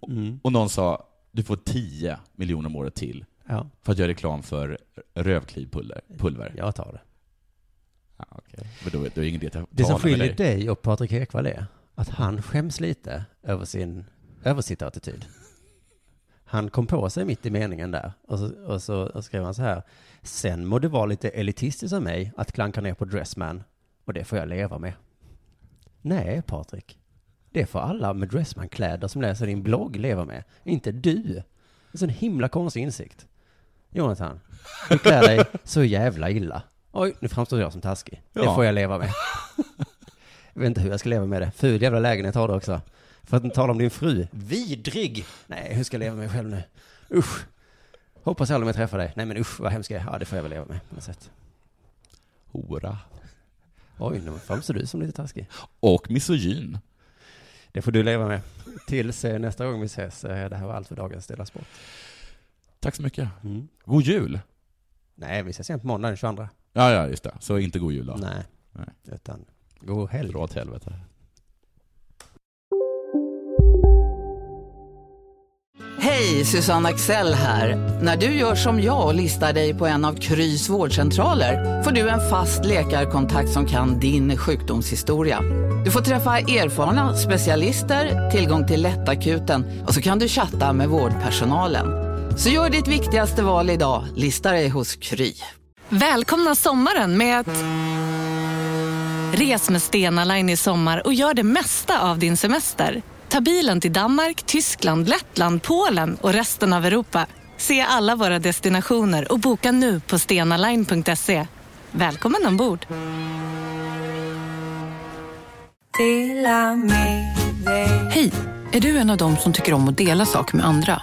Speaker 12: och-
Speaker 11: Mm.
Speaker 12: och någon sa du får 10 miljoner om året till
Speaker 11: Ja.
Speaker 12: för att göra reklam för rövklivpulver. Pulver.
Speaker 11: Jag tar det.
Speaker 12: Ja, okej. Men då, är- då är det ingen idé att tala
Speaker 11: Det som
Speaker 12: med
Speaker 11: skiljer
Speaker 12: dig.
Speaker 11: dig och Patrik Ekwall är att han skäms lite över sin översittarattityd. Han kom på sig mitt i meningen där och så, och så och skrev han så här. Sen må det vara lite elitistiskt av mig att klanka ner på Dressman och det får jag leva med. Nej, Patrik. Det får alla med Dressman-kläder som läser din blogg leva med. Inte du. Det är en sån himla konstig insikt. Jonathan, du klär dig så jävla illa. Oj, nu framstår jag som taskig. Det
Speaker 12: Ja.
Speaker 11: får jag leva med. Jag vet inte hur jag ska leva med det. Ful jävla lägenhet har du också. För att inte tala om din fru. Vidrig! Nej, hur ska jag leva med mig själv nu? Usch! Hoppas jag aldrig mer träffar dig. Nej men usch, vad hemskt jag är. Ja, det får jag väl leva med på något sätt.
Speaker 12: Hora.
Speaker 11: Oj, nu framstår du som lite taskig.
Speaker 12: Och misogyn.
Speaker 11: Det får du leva med. Tills eh, nästa gång vi ses. eh, Det här var allt för dagens Dela Sport.
Speaker 12: Tack så mycket.
Speaker 11: Mm.
Speaker 12: God jul!
Speaker 11: Nej, vi ses igen på måndag den 22.
Speaker 12: Ja, ja, just det. Så inte god jul då.
Speaker 11: Nej. Utan god helg.
Speaker 12: Dra åt helvete.
Speaker 1: Hej, Susanne Axel här. När du gör som jag och listar dig på en av Krys vårdcentraler får du en fast läkarkontakt som kan din sjukdomshistoria. Du får träffa erfarna specialister, tillgång till lättakuten och så kan du chatta med vårdpersonalen. Så gör ditt viktigaste val idag, lista dig hos Kry.
Speaker 2: Välkomna sommaren med att... Res med Stena Line i sommar och gör det mesta av din semester. Ta bilen till Danmark, Tyskland, Lettland, Polen och resten av Europa. Se alla våra destinationer och boka nu på stenaline.se. Välkommen ombord!
Speaker 22: Hej! Är du en av dem som tycker om att dela saker med andra?